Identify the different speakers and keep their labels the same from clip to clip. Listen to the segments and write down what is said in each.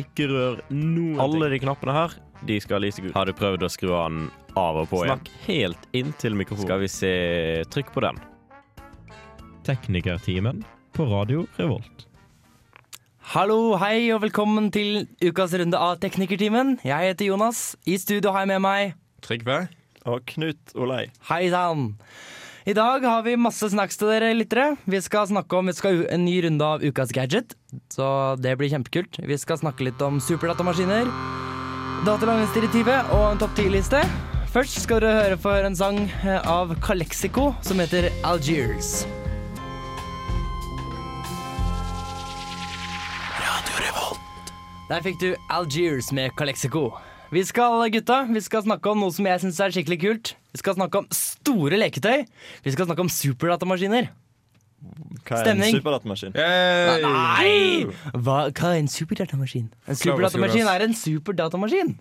Speaker 1: Ikke rør noen
Speaker 2: Alle de knappene her de skal lyse gult. Har du prøvd å skru den av og på igjen?
Speaker 1: Snakk helt inntil mikrofonen.
Speaker 2: Skal vi se Trykk på den.
Speaker 1: Teknikertimen på Radio Revolt.
Speaker 3: Hallo, hei og velkommen til ukas runde av Teknikertimen. Jeg heter Jonas. I studio har jeg med meg
Speaker 4: Trygve?
Speaker 1: Og Knut Olei.
Speaker 3: Hei sann. I dag har vi masse snacks til dere lyttere. Vi skal snakke om vi skal ha en ny runde av ukas gadget, så det blir kjempekult. Vi skal snakke litt om superdatamaskiner, datalagringsdirektivet og en topp 10-liste. Først skal dere høre for en sang eh, av Calexico som heter Algiers. Der fikk du Algiers med Calexico. Vi skal, gutta, vi skal snakke om noe som jeg syns er skikkelig kult. Vi skal snakke om store leketøy. Vi skal snakke om superdatamaskiner.
Speaker 5: Hva er
Speaker 3: Stemning.
Speaker 5: en superdatamaskin?
Speaker 4: Hey.
Speaker 3: Nei! Hva, hva er en superdatamaskin? En superdatamaskin er en superdatamaskin.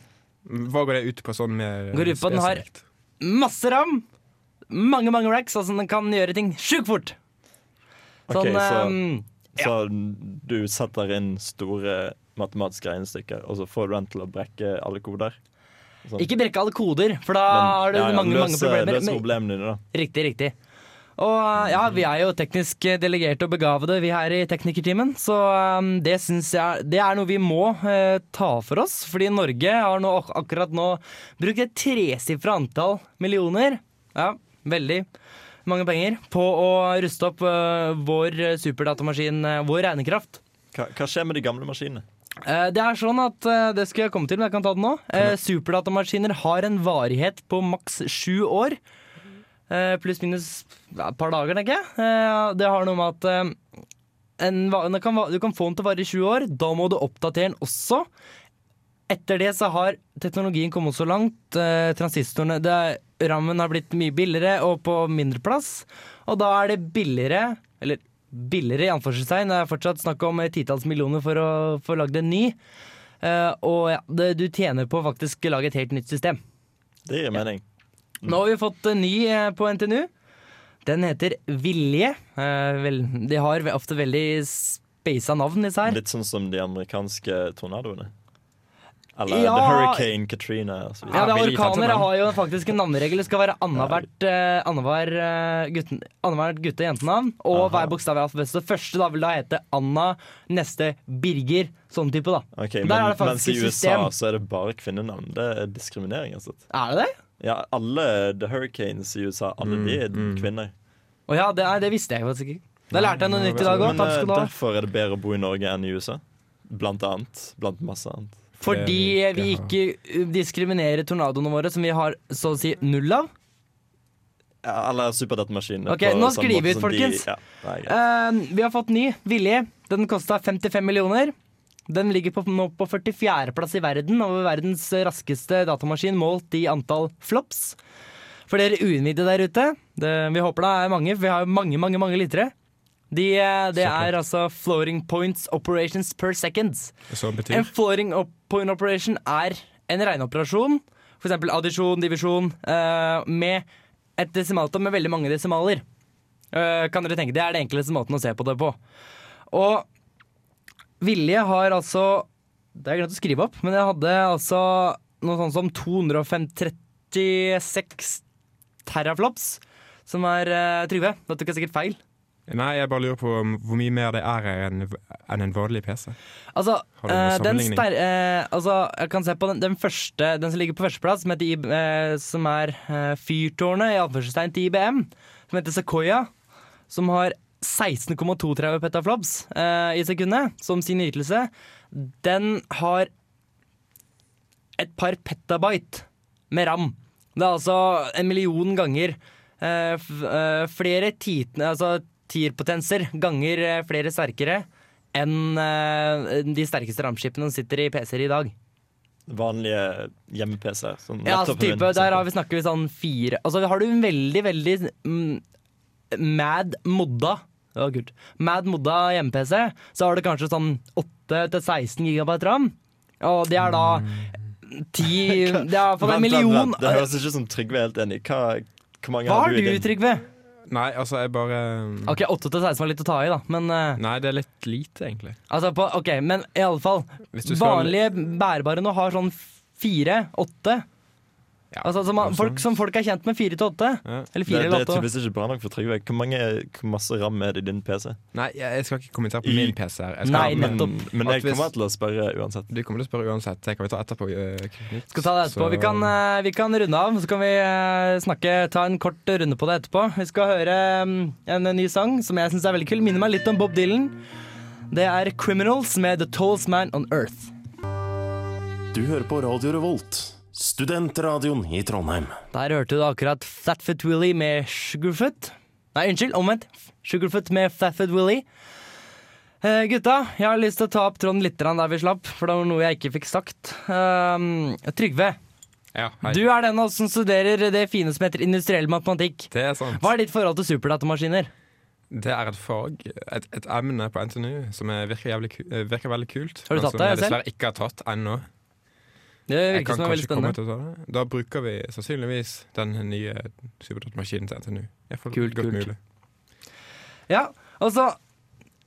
Speaker 4: Hva går det ut på sånn mer
Speaker 3: Går ut på at den har-
Speaker 4: spesifikt?
Speaker 3: Masse ram. Mange, mange racks, altså den kan gjøre ting sjukt fort.
Speaker 5: Ok,
Speaker 3: Sånn
Speaker 5: så-
Speaker 3: ehm,
Speaker 5: Så du setter inn store matematiske regnestykker, og så får du den til å brekke alle koder? Sånn.
Speaker 3: Ikke brekke alle koder, for da Ah, har du
Speaker 5: ja, ja,
Speaker 3: mange, mange
Speaker 5: løse-
Speaker 3: problemer.
Speaker 5: Løse
Speaker 3: Men-
Speaker 5: problemene dine, da.
Speaker 3: Riktig, riktig. Og ja, vi er jo teknisk delegerte og begavede, vi her i teknikertimen. Så um, det syns jeg det er noe vi må eh, ta for oss. Fordi Norge har nå, ak- akkurat nå brukt et tresifra antall millioner. Ja, veldig mange penger. På å ruste opp eh, vår superdatamaskin, eh, vår regnekraft.
Speaker 5: Hva, hva skjer med de gamle maskinene?
Speaker 3: Eh, Det er sånn at eh, Det skal jeg komme til, men jeg kan ta det nå. Eh, Superdatamaskiner har en varighet på maks sju år. Eh, Pluss minus ja, et par dager, tenker jeg. Eh, Det har noe med at eh, en, va- den kan, va- du kan få den til å vare i sju år. Da må du oppdatere den også. Etter det så har teknologien kommet så langt. eh, Transistorene det er, Rammen har blitt mye billigere og på mindre plass. Og da er det billigere, eller billigere i anførselstegn, det er fortsatt snakk om eh, titalls millioner for å få lagd en ny. Eh, og ja, det, du tjener på å faktisk lage et helt nytt system.
Speaker 5: Det gir mening.
Speaker 3: Nå har vi fått en ny eh, på NTNU. Den heter Vilje. Eh, vel, de har ve- ofte veldig speisa navn, disse her.
Speaker 5: Litt sånn som de amerikanske tornadoene. Eller
Speaker 3: Ja.
Speaker 5: The Hurricane Katrina. og så
Speaker 3: Ja,
Speaker 5: videre.
Speaker 3: det er
Speaker 4: veldig
Speaker 3: Orkaner
Speaker 4: navn.
Speaker 3: har jo faktisk en navneregel. Det skal være annethvert eh, annenhver, eh, gutten- annethvert gutte- og jentenavn. Og
Speaker 5: Aha.
Speaker 3: hver bokstav i alfabetet. Så første da vil da hete Anna, neste Birger. Sånn type, da.
Speaker 5: Ok, men,
Speaker 3: Men der er det faktisk
Speaker 5: mens i
Speaker 3: et
Speaker 5: USA
Speaker 3: system.
Speaker 5: så er det bare kvinnenavn. Det er diskriminering. Altså.
Speaker 3: Er det det?
Speaker 5: Ja, alle The Hurricanes i USA, alle de er kvinner.
Speaker 3: Å ja, det, nei, det visste jeg faktisk ikke. Da lærte jeg noe nytt i dag òg.
Speaker 5: Men
Speaker 3: Takk
Speaker 5: eh,
Speaker 3: skal du ha.
Speaker 5: derfor er det bedre å bo i Norge enn i USA. Blant annet. Blant masse annet.
Speaker 3: Fordi vi ikke uh, diskriminerer tornadoene våre, som vi har så å si null av.
Speaker 5: Ja, eller superdatamaskiner.
Speaker 3: Ok, nå skriver vi ut, folkens.
Speaker 5: De, ja, nei, greit.
Speaker 3: Eh, vi har fått ny, Vilje. Den kosta 55 millioner. Den ligger på, nå på 44.-plass i verden over verdens raskeste datamaskin målt i antall flops. For dere uinnvidde der ute, det, vi håper det er mange, for vi har jo mange, mange mange lyttere. De, eh, det er altså floating points operations per seconds.
Speaker 4: Som
Speaker 3: En
Speaker 4: betyr
Speaker 3: floating op point operation er en regneoperasjon, f.eks. addisjon, divisjon, eh, med et desimaltall med veldig mange desimaler. Eh, kan dere tenke, Det er den enkleste måten å se på det på. Og Vilje har altså Det har jeg glemt å skrive opp, men jeg hadde altså noe sånt som 236 teraflops, som er eh, Trygve, dette tok jeg sikkert feil.
Speaker 4: Nei, jeg bare lurer på om hvor mye mer det er enn enn en vanlig PC.
Speaker 3: Altså,
Speaker 4: Har du noen
Speaker 3: eh, den
Speaker 4: sammenligning?
Speaker 3: ster eh, altså, jeg kan se på den, den første, den som ligger på førsteplass, som, heter IB, eh, som er eh, fyrtårnet i anførselstegn til IBM, som heter Sequoia, som har 16,32 petaflops eh, i sekundet som sin ytelse. Den har et par petabyte med ram. Det er altså en million ganger eh, f eh, flere titen, altså tierpotenser ganger eh, flere sterkere enn eh, de sterkeste ramskipene som sitter i PC-er i dag.
Speaker 5: Vanlige hjemme-PC-er. sånn
Speaker 3: Ja, altså
Speaker 5: laptopen min,
Speaker 3: type,
Speaker 5: for
Speaker 3: Der
Speaker 5: eksempel.
Speaker 3: har vi snakker vi sånn fire Altså har du en veldig, veldig mm, mad modda Det var kult. Mad modda hjemme-PC, så har du kanskje sånn 8-16 gigabyte ram. Og det er da ti Det er iallfall en
Speaker 5: Mm. Vent, vent,
Speaker 3: million
Speaker 5: vent. Det høres ikke ut som Trygve er helt enig. Hva, hvor mange
Speaker 3: Hva
Speaker 5: har
Speaker 3: har
Speaker 5: du i
Speaker 3: du,
Speaker 5: din?
Speaker 3: Trygve?
Speaker 4: Nei, altså, jeg bare
Speaker 3: Ok, 8 til 16 var litt å ta i, da, men eh,
Speaker 4: Nei, det er litt lite, egentlig.
Speaker 3: Altså på, ok, men i alle fall
Speaker 4: Hvis du skal-
Speaker 3: Vanlige bærbare nå har sånn fire, åtte
Speaker 4: Ja,
Speaker 3: Altså som, man-
Speaker 4: altså.
Speaker 3: folk, som folk er kjent med, fire til åtte
Speaker 4: Ja.
Speaker 3: Eller
Speaker 5: Det,
Speaker 3: fire
Speaker 5: det er
Speaker 3: eller åtte
Speaker 5: tydeligvis ikke bra nok for Trygve. Hvor, mange, hvor masse ram er det i din PC?
Speaker 4: Nei, jeg jeg skal ikke kommentere på
Speaker 5: I-
Speaker 4: min PC her. Jeg skal,
Speaker 3: Nei,
Speaker 4: men,
Speaker 3: nettopp
Speaker 5: Men
Speaker 4: At
Speaker 5: jeg
Speaker 4: hvis-
Speaker 5: kommer til å spørre uansett.
Speaker 4: du kommer til å spørre uansett. Det kan vi ta etterpå. eh, Knut.
Speaker 3: Skal ta det etterpå.
Speaker 4: Så-
Speaker 3: Vi kan, eh, vi kan runde av, så kan vi eh, snakke, ta en kort runde på det etterpå. Vi skal høre mm, en ny sang som jeg syns er veldig kul. Minner meg litt om Bob Dylan. Det er Criminals med The Tallest Man on Earth.
Speaker 6: Du hører på Radio Revolt, studentradioen i Trondheim.
Speaker 3: Der hørte du akkurat Flatfoot Willy med Sugarfoot. Nei, unnskyld, omvendt. Sugarfoot med Flatfoot Willy. Eh, gutta, jeg har lyst til å ta opp tråden litt grann der vi slapp, for det var noe jeg ikke fikk sagt. Um, Trygve,
Speaker 4: Ja, hei.
Speaker 3: du er den av oss som studerer det fine som heter industriell matematikk.
Speaker 4: Det er sant.
Speaker 3: Hva er ditt forhold til superdatamaskiner?
Speaker 4: Det er et fag, et, et emne på NTNU, som er, virker, jævlig, ku- eh, virker veldig kult.
Speaker 3: Har du
Speaker 4: men
Speaker 3: tatt
Speaker 4: som
Speaker 3: det
Speaker 4: jeg
Speaker 3: selv?
Speaker 4: dessverre ikke har tatt ennå.
Speaker 3: Det
Speaker 4: Jeg
Speaker 3: virker
Speaker 4: kan
Speaker 3: som er veldig
Speaker 4: kanskje komme
Speaker 3: spennende.
Speaker 4: til å ta det. Da bruker vi sannsynligvis den nye superdatamaskinen til NTNU. I hvert fall
Speaker 3: Kult,
Speaker 4: godt
Speaker 3: kult.
Speaker 4: mulig.
Speaker 3: Ja, altså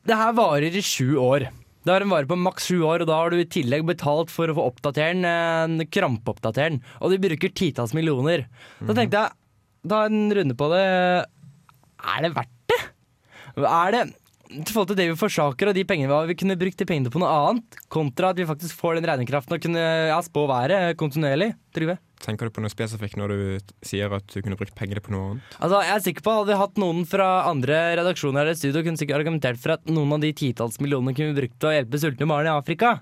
Speaker 3: Det her varer i sju år. Det har en vare på maks sju år, og da har du i tillegg betalt for å få oppdatert den, eh, krampeoppdatert den. Og de bruker titalls millioner. Da tenkte jeg, ta en runde på det. Er det verdt det? Er det i forhold til det vi forsaker og de pengene vi har, vi kunne brukt de pengene på noe annet, kontra at vi faktisk får den regnekraften og kunne ja, spå været kontinuerlig? Trygve?
Speaker 4: Tenker du på noe spesifikt når du t- sier at du kunne brukt pengene på noe annet?
Speaker 3: Altså, jeg er sikker på Hadde vi hatt noen fra andre redaksjoner her i studio, kunne sikkert argumentert for at noen av de titalls millionene kunne vi brukt til å hjelpe sultne barn i Afrika.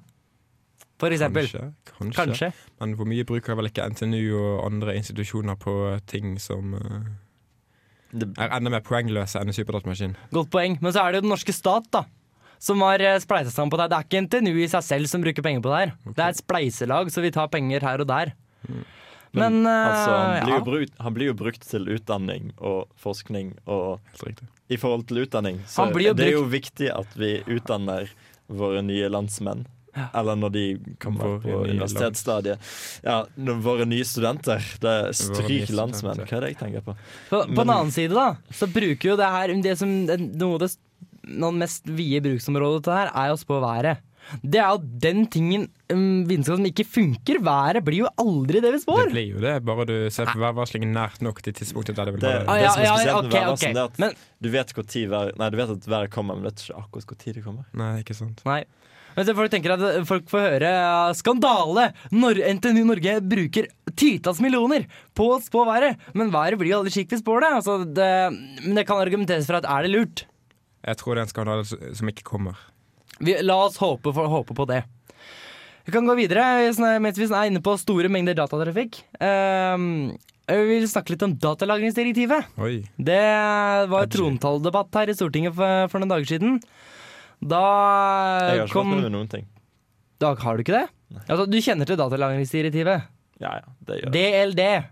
Speaker 3: For eksempel.
Speaker 4: Kanskje, kanskje.
Speaker 3: Kanskje.
Speaker 4: Men hvor mye bruker vel ikke NTNU og andre institusjoner på ting som eh,
Speaker 5: Det-
Speaker 4: er enda mer poengløse enn en superdatamaskin?
Speaker 3: Godt poeng. Men så er det jo den norske stat, da. Som har eh, spleisa sammen på det. her. Det er ikke NTNU i seg selv som bruker penger på det her. Det er et spleiselag, så vi tar penger her og der. Men, eh,
Speaker 5: Altså, han, blir jo
Speaker 3: ja.
Speaker 5: brukt, han blir jo brukt til utdanning og forskning, og
Speaker 4: Helt riktig.
Speaker 5: i forhold til utdanning så
Speaker 3: Han blir jo
Speaker 5: det er jo viktig at vi utdanner våre nye landsmenn. Eller når de kommer
Speaker 4: Våre
Speaker 5: på
Speaker 4: nye
Speaker 5: universitetsstadiet. Ja, når våre nye studenter. Det er
Speaker 4: nye
Speaker 5: stryk
Speaker 4: studenter.
Speaker 5: landsmenn. Hva er det jeg tenker på?
Speaker 3: På, på den annen side, da, så bruker jo det her det som, Noe av det s- noe av det mest vide bruksområdet til det her, er jo å spå været. Det er jo den tingen um, vitenskap som ikke funker. Været blir jo aldri det vi
Speaker 4: Det
Speaker 3: spår.
Speaker 4: blir jo det, bare du ser på værvarslingen nært nok til tidspunktet der det vil
Speaker 5: Det,
Speaker 4: være.
Speaker 3: Ah,
Speaker 5: det
Speaker 3: ja,
Speaker 5: som er
Speaker 3: ja,
Speaker 5: spesielt med
Speaker 3: ok,
Speaker 5: værvarsen,
Speaker 3: ok.
Speaker 5: det er at
Speaker 3: Men-
Speaker 5: du vet, hvor tid vær, nei, du vet at været kommer, men du vet ikke akkurat hvor tid det kommer.
Speaker 3: Eh,
Speaker 4: Nei, ikke sant.
Speaker 3: Nei. Men så folk tenker at eh, folk får høre ja, skandale! Når NTNU Norge bruker titalls millioner på å spå været! Men været blir jo aldri slik vi spår det. Altså, det. Men det kan argumenteres for at er det lurt?
Speaker 4: Jeg tror det er en skandale s- som ikke kommer.
Speaker 3: Vi, la oss håpe, for, håpe på det. Vi kan gå videre hvis- mens vi er inne på store mengder datatrafikk. Ehm, jeg vil snakke litt om datalagringsdirektivet.
Speaker 4: Oi.
Speaker 3: Det var trontaledebatt her i Stortinget for, for noen dager siden.
Speaker 5: Jeg
Speaker 3: Da
Speaker 5: har ikke vært med
Speaker 3: kom
Speaker 5: med noen ting.
Speaker 3: da, Har du ikke det? Altså, du kjenner til datalagringsdirektivet?
Speaker 5: Ja, ja, det gjør jeg.
Speaker 3: DLD.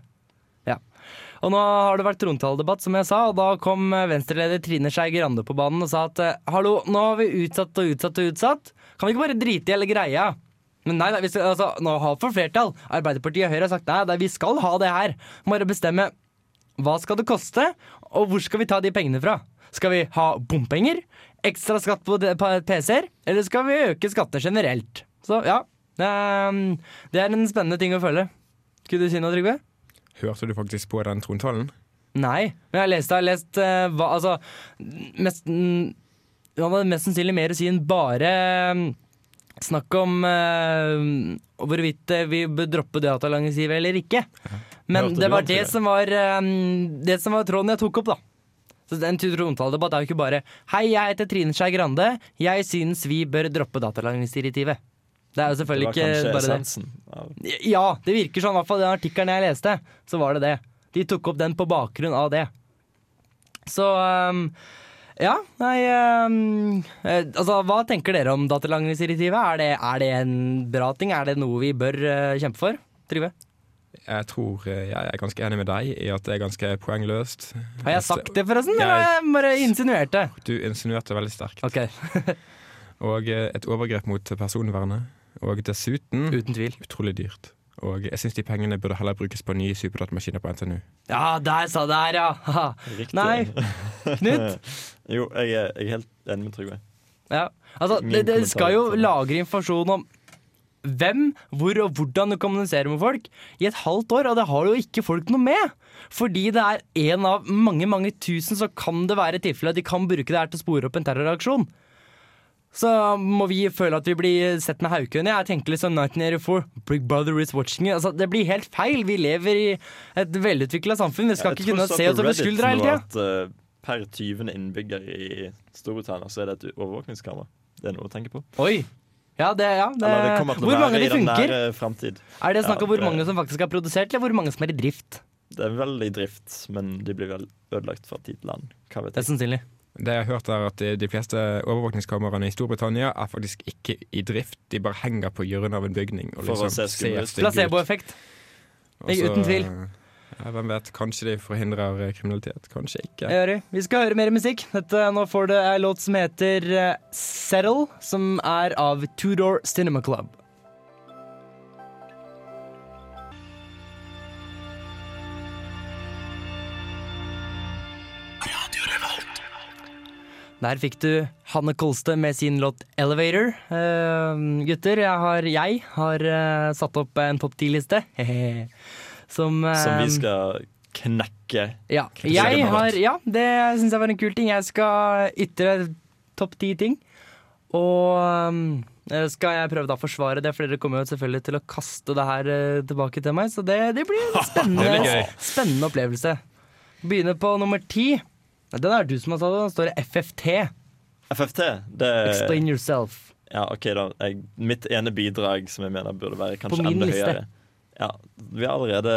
Speaker 3: Ja. Og nå har det vært trontaledebatt, som jeg sa, og da kom eh, Venstre-leder Trine Skei Grande på banen og sa at eh, hallo, nå har vi utsatt og utsatt og utsatt. Kan vi ikke bare drite i hele greia? Men nei, nei vi skal, altså, nå har vi for flertall. Arbeiderpartiet og Høyre har sagt nei, nei, vi skal ha det her. Bare bestemme hva skal det koste, og hvor skal vi ta de pengene fra? Skal vi ha bompenger? Ekstra skatt på de- på PC-er? Eller skal vi øke skattene generelt? Så ja, ehm, det er en spennende ting å følge. Skulle du si noe, Trygve?
Speaker 4: Hørte du faktisk på den trontalen?
Speaker 3: Nei, men jeg har lest, jeg har lest eh, hva, altså, mest, mm, Han hadde mest sannsynlig mer å si enn bare mm, snakk om eh, hvorvidt eh, vi bør droppe datalagringsgiver eller ikke. Men
Speaker 5: Hørte
Speaker 3: det
Speaker 5: du
Speaker 3: var
Speaker 5: han,
Speaker 3: det
Speaker 5: Trygve?
Speaker 3: som var, eh, det som var tråden jeg tok opp, da. Så En trontaledebatt er jo ikke bare 'Hei, jeg heter Trine Skei Grande. Jeg syns vi bør droppe datalagringsdirektivet'. Det er jo
Speaker 5: Det
Speaker 3: selvfølgelig
Speaker 5: var
Speaker 3: ikke
Speaker 5: kanskje
Speaker 3: bare det.
Speaker 5: essensen. av-
Speaker 3: Ja, det virker sånn. I hvert fall den artikkelen jeg leste, så var det det. De tok opp den på bakgrunn av det. Så ehm, ja, nei ehm, eh, Altså, hva tenker dere om datalagringsdirektivet? Er, det- er det en bra ting? Er det noe vi bør eh, kjempe for? Trygve?
Speaker 4: Jeg tror eh, jeg er ganske enig med deg i at det er ganske poengløst.
Speaker 3: Har jeg sagt det, forresten?
Speaker 4: Jeg-
Speaker 3: Eller har jeg bare insinuert det?
Speaker 4: Du insinuerte veldig sterkt.
Speaker 3: Ok,
Speaker 4: Og eh, et overgrep mot personvernet. Og dessuten
Speaker 3: uten tvil.
Speaker 4: utrolig dyrt. Og jeg syns de pengene burde heller brukes på nye superdatamaskiner på NTNU.
Speaker 3: Ja, der sa der, ja! Haha.
Speaker 5: Riktig.
Speaker 3: Nei. Knut?
Speaker 5: Jo, jeg er, jeg er helt enig med Trygve.
Speaker 3: Ja. Altså,
Speaker 5: Min
Speaker 3: det, det
Speaker 5: kommentar
Speaker 3: skal jo
Speaker 5: til det.
Speaker 3: lagre informasjon om hvem, hvor og hvordan du kommuniserer med folk i et halvt år, og det har jo ikke folk noe med. Fordi det er én av mange mange tusen, så kan det være tilfelle at de kan bruke det her til å spore opp en terroraksjon. Så må vi føle at vi blir sett med haukøyne. Jeg tenker litt sånn 1984, Big Brother is watching you. Altså, det blir helt feil. Vi lever i et velutvikla samfunn. Vi skal
Speaker 5: Jeg
Speaker 3: ikke
Speaker 5: tror
Speaker 3: kunne
Speaker 5: så
Speaker 3: se
Speaker 5: på
Speaker 3: oss over
Speaker 5: Reddit
Speaker 3: skuldra hele
Speaker 5: nå
Speaker 3: tida.
Speaker 5: at, eh, Per 20. innbygger i Storbritannia så er det et overvåkningskamera. Det er noe å tenke på.
Speaker 3: Oi. Ja, det, ja, det,
Speaker 5: Eller det kommer til å
Speaker 3: hvor mange
Speaker 5: være
Speaker 3: de
Speaker 5: i den
Speaker 3: funker?
Speaker 5: nære framtid.
Speaker 3: Er det snakk
Speaker 5: Ja,
Speaker 3: om hvor
Speaker 5: det-
Speaker 3: mange som faktisk er produsert, eller hvor mange som er i drift?
Speaker 5: Det er vel i drift, men de blir vel ødelagt fra tid til annen. Hva vet
Speaker 3: Det er
Speaker 5: jeg.
Speaker 3: sannsynlig.
Speaker 4: Det jeg har hørt er at de, de fleste overvåkningskameraene i Storbritannia er faktisk ikke i drift. De bare henger på hjørnet av en bygning. Og
Speaker 5: For
Speaker 4: liksom
Speaker 5: å se skumle ut.
Speaker 4: stygge ut.
Speaker 3: Placeboeffekt.
Speaker 4: Og så, eh,
Speaker 3: uten tvil.
Speaker 4: Ja, hvem vet, kanskje de forhindrer eh, kriminalitet, kanskje ikke.
Speaker 3: Jari, Eh, Vi skal høre mer musikk. Dette, nå får du ei låt som heter eh, Settle, som er av Tudor Cinema Club. Der fikk du Hanne Kolstø med sin låt 'Elevator'. Eh, gutter, jeg har, jeg har eh, satt opp en topp ti-liste. som, eh,
Speaker 5: Som vi skal knekke.
Speaker 3: ja.
Speaker 5: Kritisere
Speaker 3: Jeg
Speaker 5: den
Speaker 3: har,
Speaker 5: hardt.
Speaker 3: ja, det syns jeg var en kul ting. Jeg skal ytre topp ti ting. Og um, skal jeg prøve da å forsvare det, for dere kommer jo selvfølgelig til å kaste det her eh, tilbake til meg. Så det, det blir en spennende, spennende opplevelse. Begynner på nummer ti. Den er du som har tatt den. Den står det FFT.
Speaker 5: FFT, det
Speaker 3: Explain yourself.
Speaker 5: Ja, OK, da. Jeg, mitt ene bidrag som jeg mener burde være kanskje
Speaker 3: På min
Speaker 5: enda
Speaker 3: liste.
Speaker 5: høyere. Ja, vi er allerede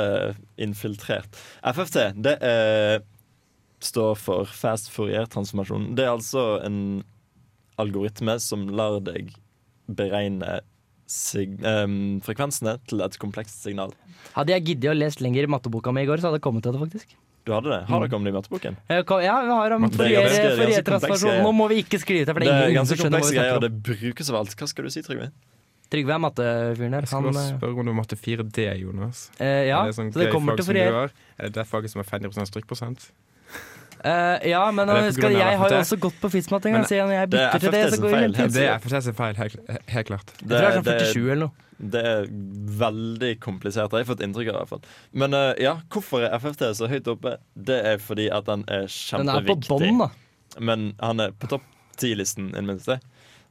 Speaker 5: infiltrert. FFT, det eh, står for Fast Fourier-transformasjon. Det er altså en algoritme som lar deg beregne sig em, frekvensene til et komplekst signal.
Speaker 3: Hadde jeg giddet å lese lenger i matteboka mi i går, så hadde jeg kommet til det, faktisk.
Speaker 5: Du hadde det? Har dere om det i matteboken?
Speaker 3: Eh, kom- Ja, vi har om
Speaker 4: Matte-
Speaker 5: Det er ganske- det er ganske
Speaker 3: Fourier-transformasjon.
Speaker 5: komplekse-
Speaker 3: Nå må vi ikke skrive det, for
Speaker 5: Det
Speaker 3: det er
Speaker 5: er
Speaker 3: ingen
Speaker 5: ganske
Speaker 3: som skjønner hva
Speaker 5: komplekse
Speaker 3: vi
Speaker 5: greier, og
Speaker 3: snakker om.
Speaker 5: det brukes av alt. Hva skal du si, Trygve?
Speaker 3: Trygve er mattefyren her.
Speaker 4: Jeg skal
Speaker 3: Han,
Speaker 4: bare
Speaker 3: eh,
Speaker 4: spørre om du matte 4D, Jonas.
Speaker 3: Eh, ja,
Speaker 4: er det sånn
Speaker 3: så det
Speaker 4: gøy
Speaker 3: kommer
Speaker 4: fag
Speaker 3: til
Speaker 4: som du
Speaker 3: Fourier.
Speaker 4: har? Er det det faget som er 50 strykprosent?
Speaker 3: Eh, ja, men
Speaker 4: Er det på
Speaker 3: husk
Speaker 4: grunn
Speaker 3: at
Speaker 4: av
Speaker 3: jeg har jo
Speaker 4: FFT?
Speaker 3: også gått på FISMAT en gang,
Speaker 4: Men
Speaker 3: så når jeg
Speaker 5: det er
Speaker 3: bytter til det,
Speaker 5: FFT
Speaker 3: så
Speaker 5: sin
Speaker 3: går det
Speaker 5: feil,
Speaker 3: litt tid.
Speaker 4: Det er FTS sin feil, helt, helt klart.
Speaker 3: Jeg tror det er sånn 47 eller noe.
Speaker 5: Det er veldig komplisert, har jeg fått inntrykk av. i hvert fall. Men eh, ja, hvorfor er FFT så høyt oppe? Det er fordi at den er
Speaker 3: Den er på
Speaker 5: kjempeviktig.
Speaker 3: bånn, da.
Speaker 5: Men han er på topp 10-listen, i det minste.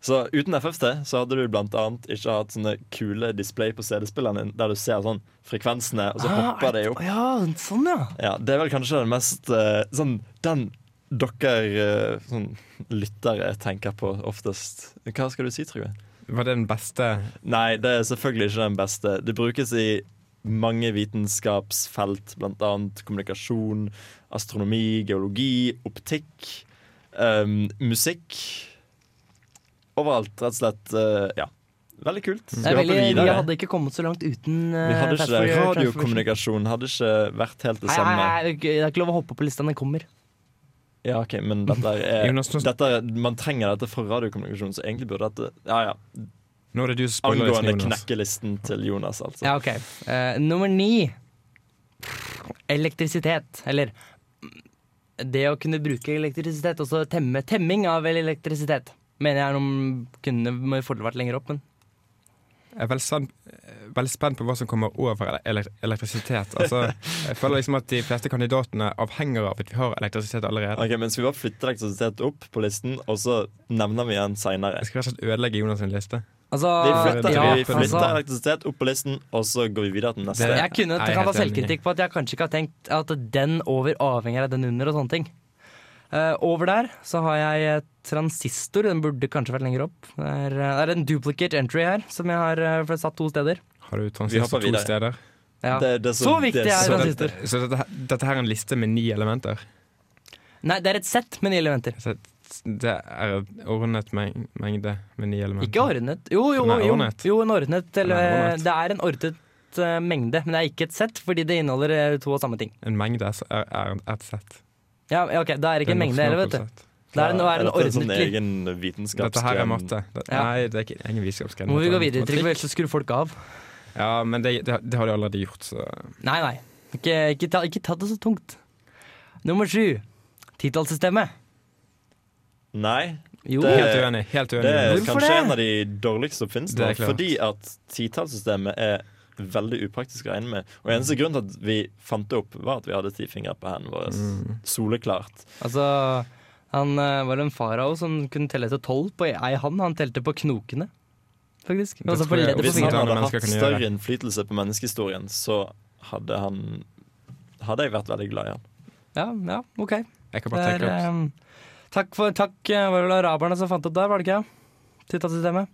Speaker 5: Så uten FFT så hadde du blant annet ikke hatt sånne kule display på CD-spilleren din, der du ser sånn frekvensene, og så
Speaker 3: Ah,
Speaker 5: hopper de opp.
Speaker 3: Å Ja, sånn, ja.
Speaker 5: Ja, det er vel kanskje den mest eh, sånn Den dere eh, sånn, lyttere tenker på oftest. Hva skal du si, Trygve?
Speaker 4: Var det den beste
Speaker 5: Nei, det er selvfølgelig ikke den beste. Det brukes i mange vitenskapsfelt, bl.a. kommunikasjon, astronomi, geologi, optikk, ehm, musikk. Overalt, rett og slett. eh, ja. Veldig kult.
Speaker 3: Mm. Det
Speaker 5: Skal
Speaker 3: er
Speaker 5: vi
Speaker 3: veldig,
Speaker 5: hoppe
Speaker 3: vi
Speaker 5: videre?
Speaker 3: hadde ikke kommet så langt uten eh,
Speaker 5: Vi hadde ikke det.
Speaker 3: Fast Fourier Transformation.
Speaker 5: Radiokommunikasjon hadde ikke vært helt det
Speaker 3: Nei, nei,
Speaker 5: samme.
Speaker 3: nei, det er ikke lov å hoppe på lista, den kommer.
Speaker 5: Ja, ok, men dette er,
Speaker 4: Jonas, nå-
Speaker 5: dette er Man trenger dette for radiokommunikasjon, så egentlig burde dette Ja, ja.
Speaker 4: Nå er det altså. du som spoiler listen,
Speaker 5: Angående
Speaker 4: Jonas.
Speaker 5: knekkelisten til Jonas, altså.
Speaker 3: Ja, ok. Eh, nummer ni. Elektrisitet. Eller mm, det å kunne bruke elektrisitet, og så temme, temming av elektrisitet. Mener jeg er noe kunne med fordel vært lenger opp, men
Speaker 4: Jeg er veldig spent, veldig spent på hva som kommer over ele- ele elektrisitet. Altså, jeg føler liksom at de fleste kandidatene avhenger av at vi har elektrisitet allerede.
Speaker 5: Ok, men Skal vi bare flytte elektrisitet opp på listen, og så nevner vi den seinere?
Speaker 4: Jeg skal rett og slett ødelegge Jonas sin liste.
Speaker 3: Altså,
Speaker 5: Vi flytter,
Speaker 4: ja,
Speaker 5: vi flytter
Speaker 4: altså.
Speaker 5: elektrisitet opp på listen, og så går vi videre til neste.
Speaker 4: Det-
Speaker 3: jeg kunne
Speaker 4: Nei, jeg er
Speaker 3: ta
Speaker 4: helt enig.
Speaker 3: selvkritikk på at jeg kanskje ikke har tenkt at den over avhenger av den under og sånne ting. Eh, over der så har jeg eh, transistor, den burde kanskje vært lenger opp. Det er, eh, det er en duplicate entry her, som jeg har eh, satt to steder.
Speaker 4: Har du
Speaker 5: Vi hopper
Speaker 4: transistor to
Speaker 5: videre.
Speaker 4: steder?
Speaker 3: Ja.
Speaker 5: Det- det er sånn-
Speaker 3: så, viktig
Speaker 5: det
Speaker 3: er
Speaker 5: så-
Speaker 3: transistor.
Speaker 4: Så dette, her- dette her er en liste med ni elementer.
Speaker 3: Nei, det er et sett med ni elementer.
Speaker 4: Så det er en ordnet meng mengde med ni elementer.
Speaker 3: Ikke ordnet. Jo, jo,
Speaker 4: Den er
Speaker 3: jo,
Speaker 4: ordnet.
Speaker 3: jo en ordnet. Eller,
Speaker 4: Den er ordnet.
Speaker 3: Det er en ordnet eh, mengde, men det er ikke et sett, fordi det inneholder eh, to og samme ting.
Speaker 4: En mengde er, er ett sett.
Speaker 3: Ja, ja, ok, Da er det ikke en altså. mengde heller, vet du. Det er en, det er en
Speaker 5: dette en
Speaker 3: ordnet
Speaker 5: sånn
Speaker 3: li-
Speaker 5: egen
Speaker 4: Dette her er
Speaker 5: vitenskapsgren?
Speaker 4: matte. Det,
Speaker 3: Ja.
Speaker 4: Nei, det er ikke ingen vitenskapsgren.
Speaker 3: Må vi
Speaker 4: Dette
Speaker 3: gå
Speaker 4: er
Speaker 3: videre, Trygve,
Speaker 4: matematikk.
Speaker 3: ellers så skrur folk av.
Speaker 4: Ja, men det, det, det har de allerede gjort, så
Speaker 3: Nei, nei. Ikke, ikke, ta, ikke ta det så tungt. Nummer sju. Titallssystemet.
Speaker 5: Nei,
Speaker 3: Jo.
Speaker 5: Det-
Speaker 4: Helt uenig. Helt
Speaker 5: det
Speaker 4: uenig.
Speaker 5: er kanskje
Speaker 3: Hvorfor det?
Speaker 5: en av de dårligste
Speaker 4: Det er
Speaker 5: oppfinnelsene.
Speaker 4: klart.
Speaker 5: Fordi at titallssystemet er veldig upraktisk å regne med. Og eneste grunn til at vi fant det opp, var at vi hadde ti fingre på hendene våre.
Speaker 4: Mm.
Speaker 5: Soleklart.
Speaker 3: Altså, han eh, var det en farao som kunne telle til tolv på ei hand. Han telte på knokene, faktisk.
Speaker 4: Det
Speaker 3: Altså på
Speaker 4: tror jeg
Speaker 3: leddet på
Speaker 5: Hvis han
Speaker 3: fingrene.
Speaker 4: Hvordan
Speaker 5: hadde
Speaker 4: alle mennesker
Speaker 5: hatt
Speaker 4: kunne gjøre
Speaker 5: større
Speaker 4: det.
Speaker 5: innflytelse på menneskehistorien, så hadde han Hadde jeg vært veldig glad i han.
Speaker 3: Ja, ja, OK.
Speaker 4: Jeg kan
Speaker 3: Det
Speaker 4: bare
Speaker 3: er,
Speaker 4: tenke opp.
Speaker 3: ehm, takk for Takk, eh, var det vel araberne som fant opp der, var det ikke? Titallssystemet.